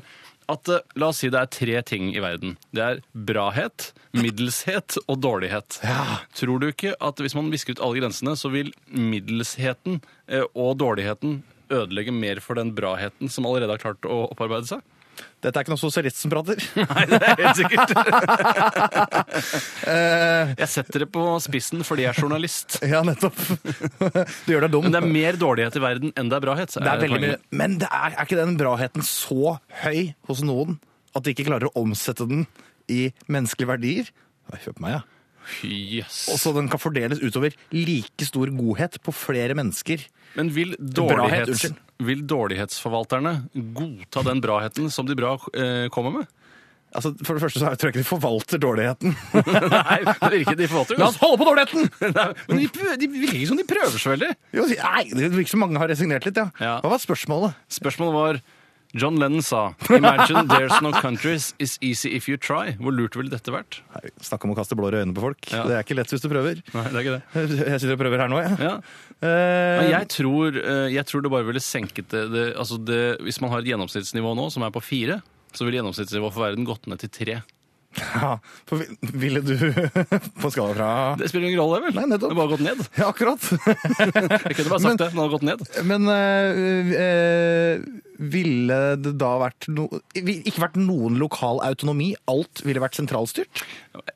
Speaker 2: at eh, La oss si det er tre ting i verden. Det er brahet, middelshet og dårlighet. Tror du ikke at hvis man visker ut alle grensene, så vil middelsheten eh, og dårligheten ødelegge mer for den braheten som allerede har klart å opparbeide seg?
Speaker 3: Dette er ikke noen sosialist som prater.
Speaker 2: Nei, det er helt sikkert.
Speaker 3: Eh,
Speaker 2: Jeg setter det på spissen fordi jeg er journalist.
Speaker 3: ja, nettopp. Du gjør deg dum.
Speaker 2: Men det er mer dårlighet i verden enn det er brahet.
Speaker 3: Det er veldig
Speaker 2: poenget.
Speaker 3: mye. Men det er, er ikke den braheten så høy hos noen at de ikke klarer å omsette den i menneskelige verdier? Ja, Kjøp meg, ja.
Speaker 2: Yes.
Speaker 3: Og så den kan fordeles utover like stor godhet på flere mennesker.
Speaker 2: Men vil,
Speaker 3: Brahet,
Speaker 2: dårlighets,
Speaker 3: unnskyld.
Speaker 2: vil dårlighetsforvalterne godta den braheten som de bra eh, kommer med?
Speaker 3: Altså, For det første så er- tror jeg ikke de forvalter dårligheten.
Speaker 2: Nei, det virker de altså. forvalter
Speaker 3: La oss holde på dårligheten!
Speaker 2: Men de, prø- de virker ikke som de prøver så veldig.
Speaker 3: Jo, nei, Det virker som mange har resignert litt, ja.
Speaker 2: Ja.
Speaker 3: Hva var spørsmålet?
Speaker 2: Spørsmålet var John Lennon sa Imagine there's no countries, it's easy if you try. Hvor lurt ville dette vært?
Speaker 3: Nei, Snakk om å kaste blår i øynene på folk.
Speaker 2: Ja.
Speaker 3: Det er ikke lett hvis du prøver.
Speaker 2: Nei, det er ikke det.
Speaker 3: Jeg sitter og prøver her nå, jeg.
Speaker 2: Ja.
Speaker 3: Eh,
Speaker 2: Men Jeg tror, eh, jeg tror det bare ville senket det, det, altså det Hvis man har et gjennomsnittsnivå nå, som er på fire, så ville gjennomsnittsnivået for verden gått ned til tre.
Speaker 3: ja, for vi- ville du På skala fra
Speaker 2: Det spiller ingen rolle, vel?
Speaker 3: Nei,
Speaker 2: det
Speaker 3: nettopp.
Speaker 2: har bare gått ned.
Speaker 3: Ja, akkurat.
Speaker 2: Jeg kunne bare sagt det. Den hadde gått ned.
Speaker 3: Men eh, eh, ville det da vært no, vi- ikke vært noen lokal autonomi? Alt ville vært sentralstyrt?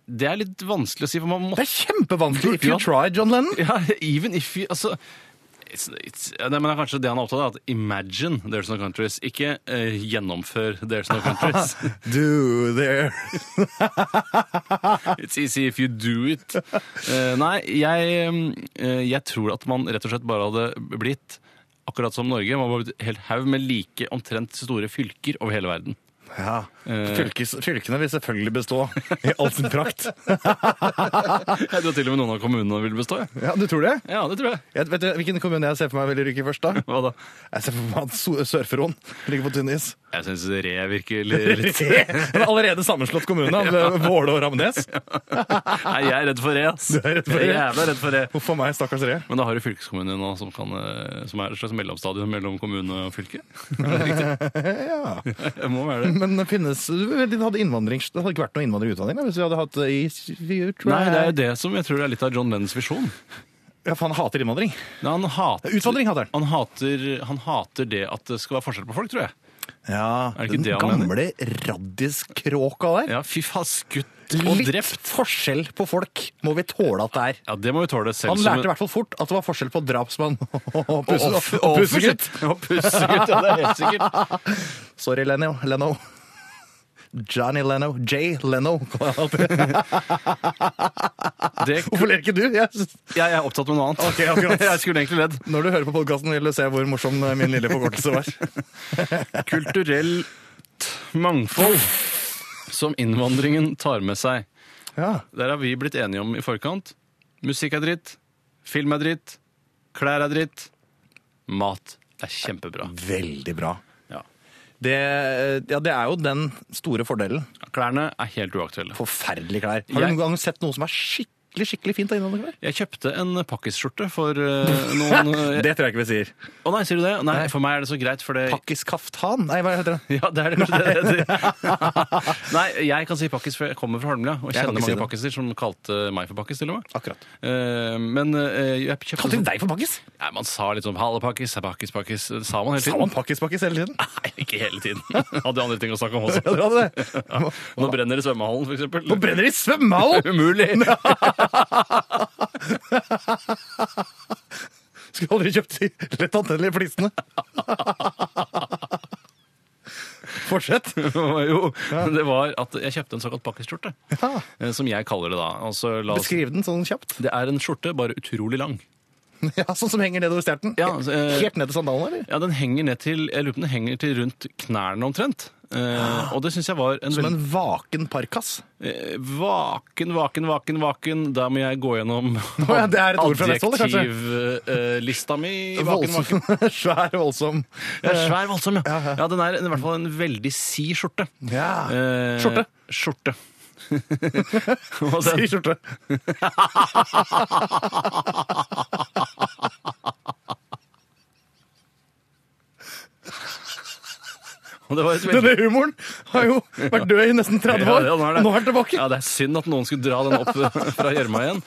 Speaker 2: Det er litt vanskelig å si, for man
Speaker 3: Det
Speaker 2: måtte
Speaker 3: er kjempevanskelig! If you
Speaker 2: Ja.
Speaker 3: try, John Lennon.
Speaker 2: ja, Even if you Altså it's, it's, ja, nei, men det er kanskje det han er opptatt av, at imagine there's no countries. Ikke eh, gjennomfør there's no countries.
Speaker 3: Do there
Speaker 2: It's easy if you do it. Eh, nei, jeg, eh, jeg tror at man rett og slett bare hadde blitt akkurat som Norge. Man var blitt helt haug med like omtrent store fylker over hele verden.
Speaker 3: ja. Fylkes, fylkene vil selvfølgelig bestå i all sin prakt.
Speaker 2: Jeg tror til og med noen av kommunene ville bestå. jeg.
Speaker 3: Ja, Du tror det?
Speaker 2: Ja, det tror jeg.
Speaker 3: Jeg, vet du hvilken kommune jeg ser for meg vil ryke først? da?
Speaker 2: Hva da?
Speaker 3: Jeg ser for meg at So- Sør-Fron ligger på tynn is.
Speaker 2: Jeg syns Re virker litt, litt
Speaker 3: En allerede sammenslått kommune av eh, Våle og Ramnes.
Speaker 2: Nei, jeg er redd for det, ass.
Speaker 3: er redd for det?
Speaker 2: Jeg er jævla redd for det.
Speaker 3: Huff a meg, stakkars Re.
Speaker 2: Men da har du fylkeskommunen nå, som, kan, eh, som er et slags mellomstadium mellom kommune og fylke? Er det riktig?
Speaker 3: Eh, Ja.
Speaker 2: Det må være det.
Speaker 3: Men finnes, det hadde, innvandring, det hadde ikke vært noe innvandring i utdanning da, hvis vi hadde hatt det i
Speaker 2: Nei, det er jo det som jeg tror er litt av John Lennons visjon.
Speaker 3: Ja, for han hater innvandring.
Speaker 2: Nei, Han hater,
Speaker 3: Utvandring hater han.
Speaker 2: han, hater, han hater det at det skal være forskjell på folk, tror jeg.
Speaker 3: Ja,
Speaker 2: Er det ikke
Speaker 3: den
Speaker 2: det han
Speaker 3: gamle raddiskråka der.
Speaker 2: Ja, Fy faen, skutt og
Speaker 3: Litt
Speaker 2: drept!
Speaker 3: forskjell på folk må vi tåle at det er.
Speaker 2: Ja, det må vi tåle selv.
Speaker 3: Han
Speaker 2: som en-
Speaker 3: lærte i hvert fall fort at det var forskjell på drapsmann og pusse-
Speaker 2: Og-
Speaker 3: og-
Speaker 2: og
Speaker 3: og pussegutt.
Speaker 2: Og pussegutt, ja, det er helt sikkert.
Speaker 3: Sorry, Leno. Leno. Johnny Leno. Jay Leno. kaller han alltid.
Speaker 2: Det,
Speaker 3: Hvorfor ler ikke du? Jeg synes-
Speaker 2: jeg er opptatt med noe annet.
Speaker 3: Ok, akkurat.
Speaker 2: Jeg skulle egentlig ledd.
Speaker 3: Når du hører på podkasten, vil du se hvor morsom eh, min lille forkortelse var.
Speaker 2: Kulturelt mangfold som innvandringen tar med seg.
Speaker 3: Ja.
Speaker 2: Der har vi blitt enige om i forkant. Musikk er dritt, film er dritt, klær er dritt, mat Det er kjempebra.
Speaker 3: Veldig bra.
Speaker 2: Ja.
Speaker 3: Det, ja, det er jo den store fordelen.
Speaker 2: Klærne er helt uaktuelle.
Speaker 3: Forferdelige klær. Har du
Speaker 2: Jeg-
Speaker 3: noen gang sett noe som er skikkelig skikkelig fint av innholdet?
Speaker 2: Jeg kjøpte en pakkisskjorte for eh, noen eh,
Speaker 3: Det tror jeg ikke vi sier.
Speaker 2: Å nei, sier du det? Nei, for meg er det så greit, for det
Speaker 3: Pakkis kaftan? Nei, hva heter det?
Speaker 2: Ja, det er det kanskje det det heter. Nei, jeg kan si pakkis, for jeg kommer fra Holmlia og
Speaker 3: Jeg kan
Speaker 2: kjenner
Speaker 3: ikke si
Speaker 2: mange
Speaker 3: det.
Speaker 2: pakkiser som kalte meg for pakkis, til og med.
Speaker 3: Akkurat.
Speaker 2: Eh, Men eh, jeg kjøpte
Speaker 3: Kalte de deg for pakkis?
Speaker 2: Nei, man sa litt sånn Halla, pakkis, hei, pakkis, pakkis. Det Sa man hele
Speaker 3: Sa
Speaker 2: tiden?
Speaker 3: man pakkis-pakkis hele tiden?
Speaker 2: Nei, ikke hele tiden. Hadde andre ting å snakke om
Speaker 3: Ja,
Speaker 2: også.
Speaker 3: du hadde det.
Speaker 2: Nå brenner det i svømmehallen, for eksempel.
Speaker 3: Nå brenner det i svømmehallen!
Speaker 2: Umulig!
Speaker 3: Skulle aldri kjøpt de lett antennelige flisene. Fortsett.
Speaker 2: jo, det var at jeg kjøpte en såkalt pakkisskjorte. eh, Som jeg kaller det da. Altså, la oss...
Speaker 3: Beskriv den sånn kjapt.
Speaker 2: Det er en skjorte, bare utrolig lang.
Speaker 3: Ja, Sånn som henger nedover stjerten.
Speaker 2: Ja, altså, eh,
Speaker 3: Helt ned til sandalene, eller?
Speaker 2: Ja, den henger ned til Jeg lurer på om den henger til rundt knærne omtrent. Eh, og det syns jeg var en
Speaker 3: Som
Speaker 2: veldig
Speaker 3: en vaken parkas.
Speaker 2: eh, Vaken, vaken, vaken, vaken. Der må jeg gå gjennom
Speaker 3: ja, det er et ord fra Vestfold, det, kanskje?
Speaker 2: adjektivlista mi. Vaken, vaken.
Speaker 3: Voldsom. Svær, voldsom. Eh,
Speaker 2: Ja, svær, voldsom, ja. Ja, Den er i hvert fall en veldig si skjorte.
Speaker 3: Ja.
Speaker 2: Eh,
Speaker 3: Skjorte.
Speaker 2: Skjorte. Og den-
Speaker 3: Si skjorte.
Speaker 2: og det var et veldig
Speaker 3: Denne humoren har jo vært død i nesten 30
Speaker 2: Ja,
Speaker 3: år,
Speaker 2: ja, nå er det-
Speaker 3: og nå er den tilbake.
Speaker 2: Ja, Det er synd at noen skulle dra den opp fra gjørma igjen.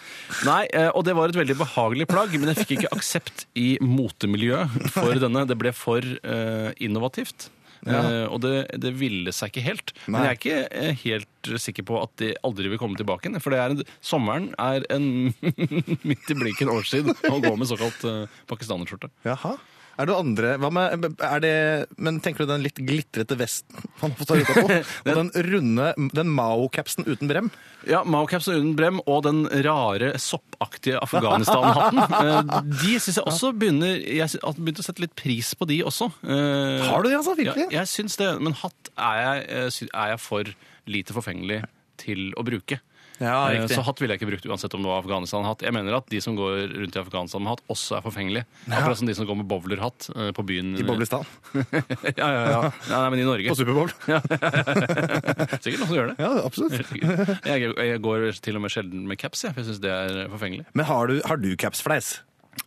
Speaker 2: Nei, eh, og det var et veldig behagelig plagg, men jeg fikk ikke aksept i motemiljøet for denne. Det ble for eh, innovativt. Eh, og det, det ville seg ikke helt. Men jeg er ikke eh, helt sikker på at det aldri vil komme tilbake igjen. For det er en, sommeren er en midt i blinken årstid å gå med såkalt eh, pakistanerskjorte.
Speaker 3: Jaha. Er det noe andre Hva med er det, Men tenker du den litt glitrete vesten han får ta ruta på? Og den runde Den Mao-capsen uten brem?
Speaker 2: Ja, Mao-capsen uten brem og den rare soppaktige Afghanistan-hatten. eh, De syns jeg også begynner Jeg sy- har begynt å sette litt pris på de også. Eh,
Speaker 3: Har du det, altså? Virkelig?
Speaker 2: Ja, jeg syns det. Men hatt er jeg, eh, sy- er jeg for lite forfengelig til å bruke.
Speaker 3: Ja,
Speaker 2: Eh,
Speaker 3: riktig.
Speaker 2: Så hatt ville jeg ikke brukt uansett om det var Afghanistan-hatt. Jeg mener at de som går rundt i Afghanistan med hatt, også er forfengelige. Akkurat som de som går med bowlerhatt eh, på byen.
Speaker 3: I Boblestad?
Speaker 2: Ja, ja, ja. Nei, nei, men i Norge.
Speaker 3: På Superbowl?
Speaker 2: Sikkert noen som gjør det.
Speaker 3: Ja, absolutt.
Speaker 2: Jeg, jeg går til og med sjelden med caps, jeg, for jeg syns det er forfengelig.
Speaker 3: Men har du, har du capsfleis?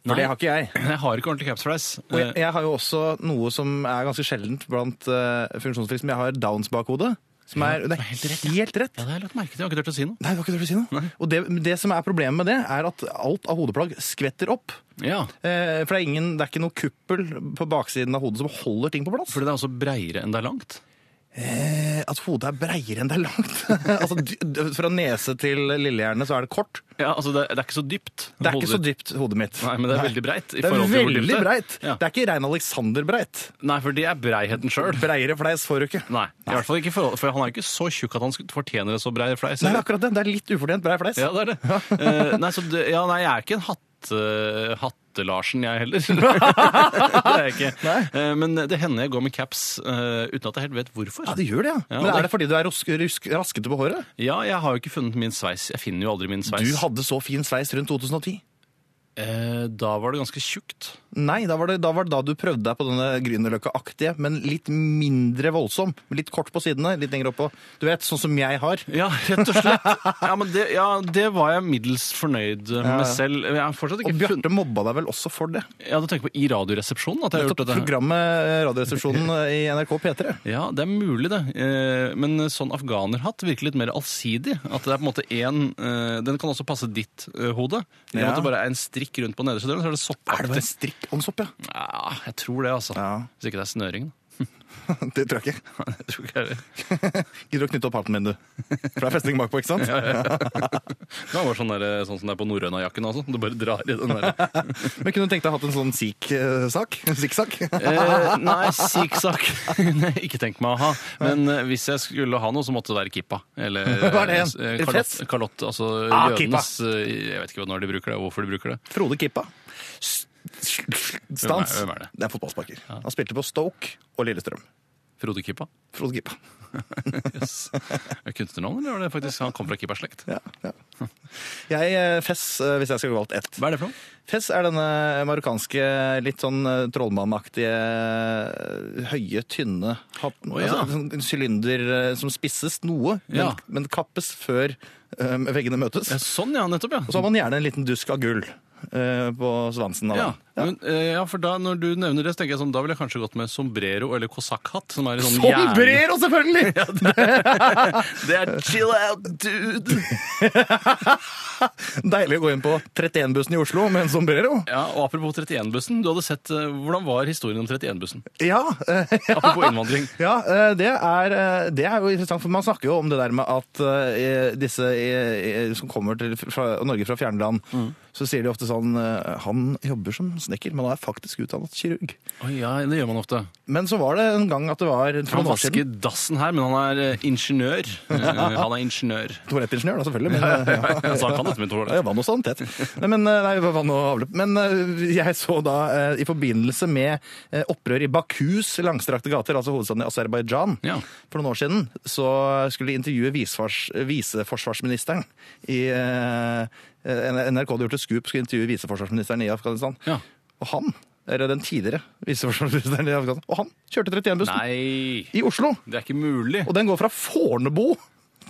Speaker 3: For det har ikke jeg.
Speaker 2: Jeg har ikke ordentlig Eh, capsfleis.
Speaker 3: Og jeg, jeg har jo også noe som er ganske sjeldent blant uh, funksjonsfriske, men jeg har downs bak hodet. Som er, det er helt rett.
Speaker 2: Ja, det har jeg lagt merke til. Jeg har ikke turt å si noe.
Speaker 3: Nei, det var ikke det du skulle si nå. Og det, det som er problemet med det, er at alt av hodeplagg skvetter opp.
Speaker 2: Ja,
Speaker 3: Eh, for det er, ingen, det er ikke noe kuppel på baksiden av hodet som holder ting på plass.
Speaker 2: Fordi det er også breiere enn det er langt.
Speaker 3: Eh, At hodet er breiere enn det er langt. altså, d- d- fra nese til lillehjerne så er det kort.
Speaker 2: Ja, altså Det, det er ikke så dypt.
Speaker 3: Det er ikke så dypt, hodet mitt.
Speaker 2: Nei, men det er veldig breit. i
Speaker 3: Det er
Speaker 2: forhold til hvor dypt
Speaker 3: veldig
Speaker 2: det er.
Speaker 3: breit.
Speaker 2: Ja.
Speaker 3: Det er ikke Rein Alexander breit.
Speaker 2: Nei, for det er breigheten sjøl.
Speaker 3: Breiere fleis får du ikke.
Speaker 2: Nei, i hvert fall ikke i forhold, for han er jo ikke så tjukk at han skulle- fortjener en så brei fleis.
Speaker 3: Nei,
Speaker 2: eller?
Speaker 3: akkurat det. Det er litt ufortjent brei fleis.
Speaker 2: Ja, det er det. Eh, nei, så det, ja, nei, jeg er ikke en hatt, eh, Hatte-Larsen, jeg heller. det er jeg ikke. Eh, men det hender jeg går med caps eh, uten at jeg helt vet hvorfor.
Speaker 3: Ja, det gjør det, ja.
Speaker 2: Ja,
Speaker 3: Men
Speaker 2: det-
Speaker 3: er det fordi du er rusk, rusk, raskete på håret?
Speaker 2: Ja, jeg har jo ikke funnet min sveis. Jeg finner jo aldri min sveis.
Speaker 3: Du hadde så fin sveis rundt 2010.
Speaker 2: eh, da var det ganske tjukt.
Speaker 3: Nei, da var det da, var det da du prøvde deg på denne Grünerløkka-aktige, men litt mindre voldsom. Litt kort på sidene, litt lenger oppå. Du vet, sånn som jeg har.
Speaker 2: Ja, rett og slett. Ja, men det, ja, det var jeg middels fornøyd med selv. Jeg har fortsatt ikke
Speaker 3: Og
Speaker 2: funnet
Speaker 3: Bjarte mobba deg vel også for det.
Speaker 2: Ja, du tenker på i Radioresepsjonen? at jeg har
Speaker 3: Nettopp
Speaker 2: gjort dette?
Speaker 3: programmet eh, Radioresepsjonen i NRK P3.
Speaker 2: Ja, det er mulig, det. Eh, Men sånn afghanerhatt virker litt mer allsidig. At det er på en måte én eh, Den kan også passe ditt eh, hode. I og med
Speaker 3: Ja.
Speaker 2: at det bare er en strikk rundt på nederste delen, så er det
Speaker 3: Er det bare
Speaker 2: soppaktig.
Speaker 3: en strikk og en sopp, ja?
Speaker 2: Ja, jeg tror det, altså.
Speaker 3: Ja.
Speaker 2: Hvis ikke det er snøring. da.
Speaker 3: Det tror jeg ikke.
Speaker 2: Jeg tror ikke det er det.
Speaker 3: Gidder du å knytte opp hatten min, du? For det er festning bakpå, ikke sant?
Speaker 2: Det var sånn, der, sånn som det er på norrønajakken også. Du bare drar i den der.
Speaker 3: Men kunne du tenkt deg å ha hatt en sånn sikh-sak? Sikh-sak?
Speaker 2: Eh, nei, sikksakk kunne jeg ikke tenkt meg å ha. Men eh, hvis jeg skulle ha noe, så måtte det være kippa. Eller
Speaker 3: Hva er det igjen?
Speaker 2: eh,
Speaker 3: Et
Speaker 2: kalott,
Speaker 3: fett?
Speaker 2: kalott, altså
Speaker 3: Ah,
Speaker 2: jødenes eh, Jeg vet ikke hva- når de bruker det, og hvorfor de bruker det.
Speaker 3: Frode Kippa. S- Stans.
Speaker 2: Hvem er- hvem er det?
Speaker 3: er fotballsparker. Han spilte på Stoke og Lillestrøm.
Speaker 2: Frode Kippa?
Speaker 3: Frode Kippa.
Speaker 2: Yes. Er det Kunstnernavn, eller var det faktisk han kom fra Kippa-slekt?
Speaker 3: Ja, ja. Jeg, eh, Fess, eh, hvis jeg skal gå valgt ett.
Speaker 2: Hva er det for noe?
Speaker 3: Fess er denne marokkanske, litt sånn eh, trollmannaktige, eh, høye, tynne hatten.
Speaker 2: Å, ja.
Speaker 3: altså, sånn en sylinder eh, som spisses noe,
Speaker 2: Ja.
Speaker 3: men, men kappes før eh, veggene møtes.
Speaker 2: Ja, sånn, ja. Nettopp,
Speaker 3: Og
Speaker 2: ja.
Speaker 3: så har man gjerne en liten dusk av gull eh, på svansen. Av
Speaker 2: Ja,
Speaker 3: den.
Speaker 2: men, eh, ja, for da når du nevner det, så tenker jeg sånn, da ville jeg kanskje gått med sombrero eller kosakkhatt. Som er i sånn jern-
Speaker 3: Sombrero, selvfølgelig!
Speaker 2: Det er chill out, dude!
Speaker 3: Deilig å gå inn på 31-bussen i Oslo med en sombrero.
Speaker 2: Ja, og Apropos 31-bussen. du hadde sett, eh, Hvordan var historien om 31-bussen?
Speaker 3: Ja, eh,
Speaker 2: Apropos innvandring.
Speaker 3: ja eh, det, er, eh, det er jo interessant, for man snakker jo om det der med at eh, disse eh, eh, som kommer til fra, Norge fra fjernland, så sier de ofte sånn eh, Han jobber som snekker, men han er faktisk utdannet kirurg.
Speaker 2: Oi, ja, Det gjør man ofte.
Speaker 3: Men så var det en gang at det var for
Speaker 2: Han
Speaker 3: noen år siden
Speaker 2: vasker dassen her, men han er eh, ingeniør. Eh, Han er ingeniør.
Speaker 3: Toalettingeniør, da, selvfølgelig. Men, eh, ja.
Speaker 2: Så han kan dette med
Speaker 3: Ja,
Speaker 2: toalett.
Speaker 3: vann og sanitet. sånn Nei, men, eh, nei, vann og avløp. Men eh, jeg så da, eh, i forbindelse med eh, opprør i Bakus langstrakte gater, altså hovedstaden i Aserbajdsjan,
Speaker 2: Ja.
Speaker 3: for noen år siden, så skulle de intervjue visefors- viseforsvarsministeren i eh, eh, NRK hadde gjort et skup, skulle intervjue viseforsvarsministeren i Afghanistan.
Speaker 2: Ja.
Speaker 3: Og han, eller den tidligere viseforsvarsministeren i Afghanistan, og han kjørte 31-bussen
Speaker 2: Nei,
Speaker 3: i Oslo.
Speaker 2: det er ikke mulig.
Speaker 3: Og den går fra Fornebu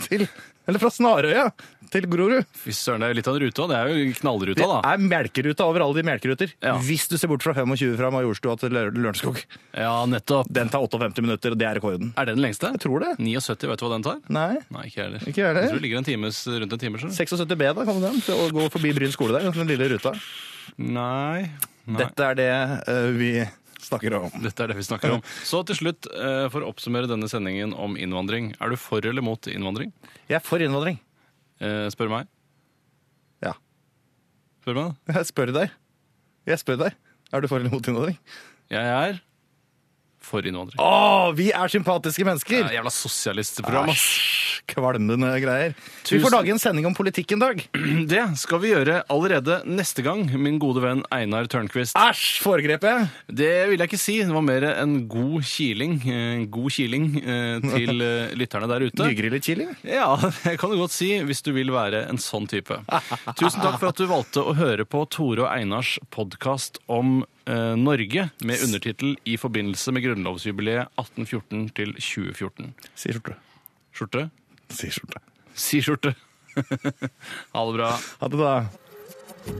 Speaker 3: til, eller fra Snarøya til Grorud.
Speaker 2: Fy søren, det er jo litt av en rute òg. Det er jo knallruta, da.
Speaker 3: Det er melkeruta over alle de melkeruter.
Speaker 2: Ja.
Speaker 3: Hvis du ser bort fra 25 fra Majorstua til Lø- Lørenskog.
Speaker 2: Ja, nettopp.
Speaker 3: Den tar 58 minutter, og det er rekorden.
Speaker 2: Er det den lengste?
Speaker 3: Jeg tror det.
Speaker 2: 79, vet du hva den tar?
Speaker 3: Nei.
Speaker 2: Nei, ikke heller.
Speaker 3: Ikke heller.
Speaker 2: Jeg tror det ligger en times, rundt en time. Selv.
Speaker 3: 76B, da, kan du den? Til å gå forbi Bryn skole der, den lille ruta.
Speaker 2: Nei. Nei. Dette.
Speaker 3: Dette er det eh, vi snakker om.
Speaker 2: er det vi snakker om. Så til slutt, eh, for å oppsummere denne sendingen om innvandring. Er du for eller mot innvandring?
Speaker 3: Jeg er for innvandring.
Speaker 2: Eh, Spør meg.
Speaker 3: Ja.
Speaker 2: Spør meg, da.
Speaker 3: Jeg spør deg. Jeg spør deg. Er du for eller mot innvandring?
Speaker 2: Jeg er for innvandring.
Speaker 3: Å, vi er sympatiske
Speaker 2: Det
Speaker 3: mennesker!
Speaker 2: er jævla sosialistprogram, ass.
Speaker 3: Æsj, Kvalmende greier. Vi
Speaker 2: Tusen-
Speaker 3: får lage en sending om politikk en dag.
Speaker 2: Det skal vi gjøre allerede neste gang, min gode venn Einar Tørnquist.
Speaker 3: Æsj, foregrep jeg!
Speaker 2: Det vil jeg ikke si. Det var mer en god kiling, eh, en god kiling eh, til eh, lytterne der ute.
Speaker 3: Nygrillet chili?
Speaker 2: Ja, det kan du godt si, hvis du vil være en sånn type. Tusen takk for at du valgte å høre på Tore og Einars podkast om eh, Norge, med undertittel 'I forbindelse med grunnlovsjubileet 1814 til 2014'.
Speaker 3: Sier skjorte.
Speaker 2: Skjorte?
Speaker 3: Sier skjorte.
Speaker 2: Si skjorte. ha det bra.
Speaker 3: Ha det, da.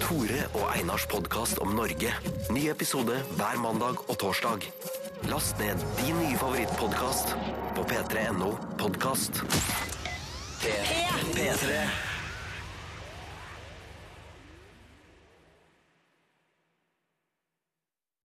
Speaker 4: Tore og Einars podkast om Norge. Ny episode hver mandag og torsdag. Last ned din nye favorittpodkast på p3.no podkast. P3.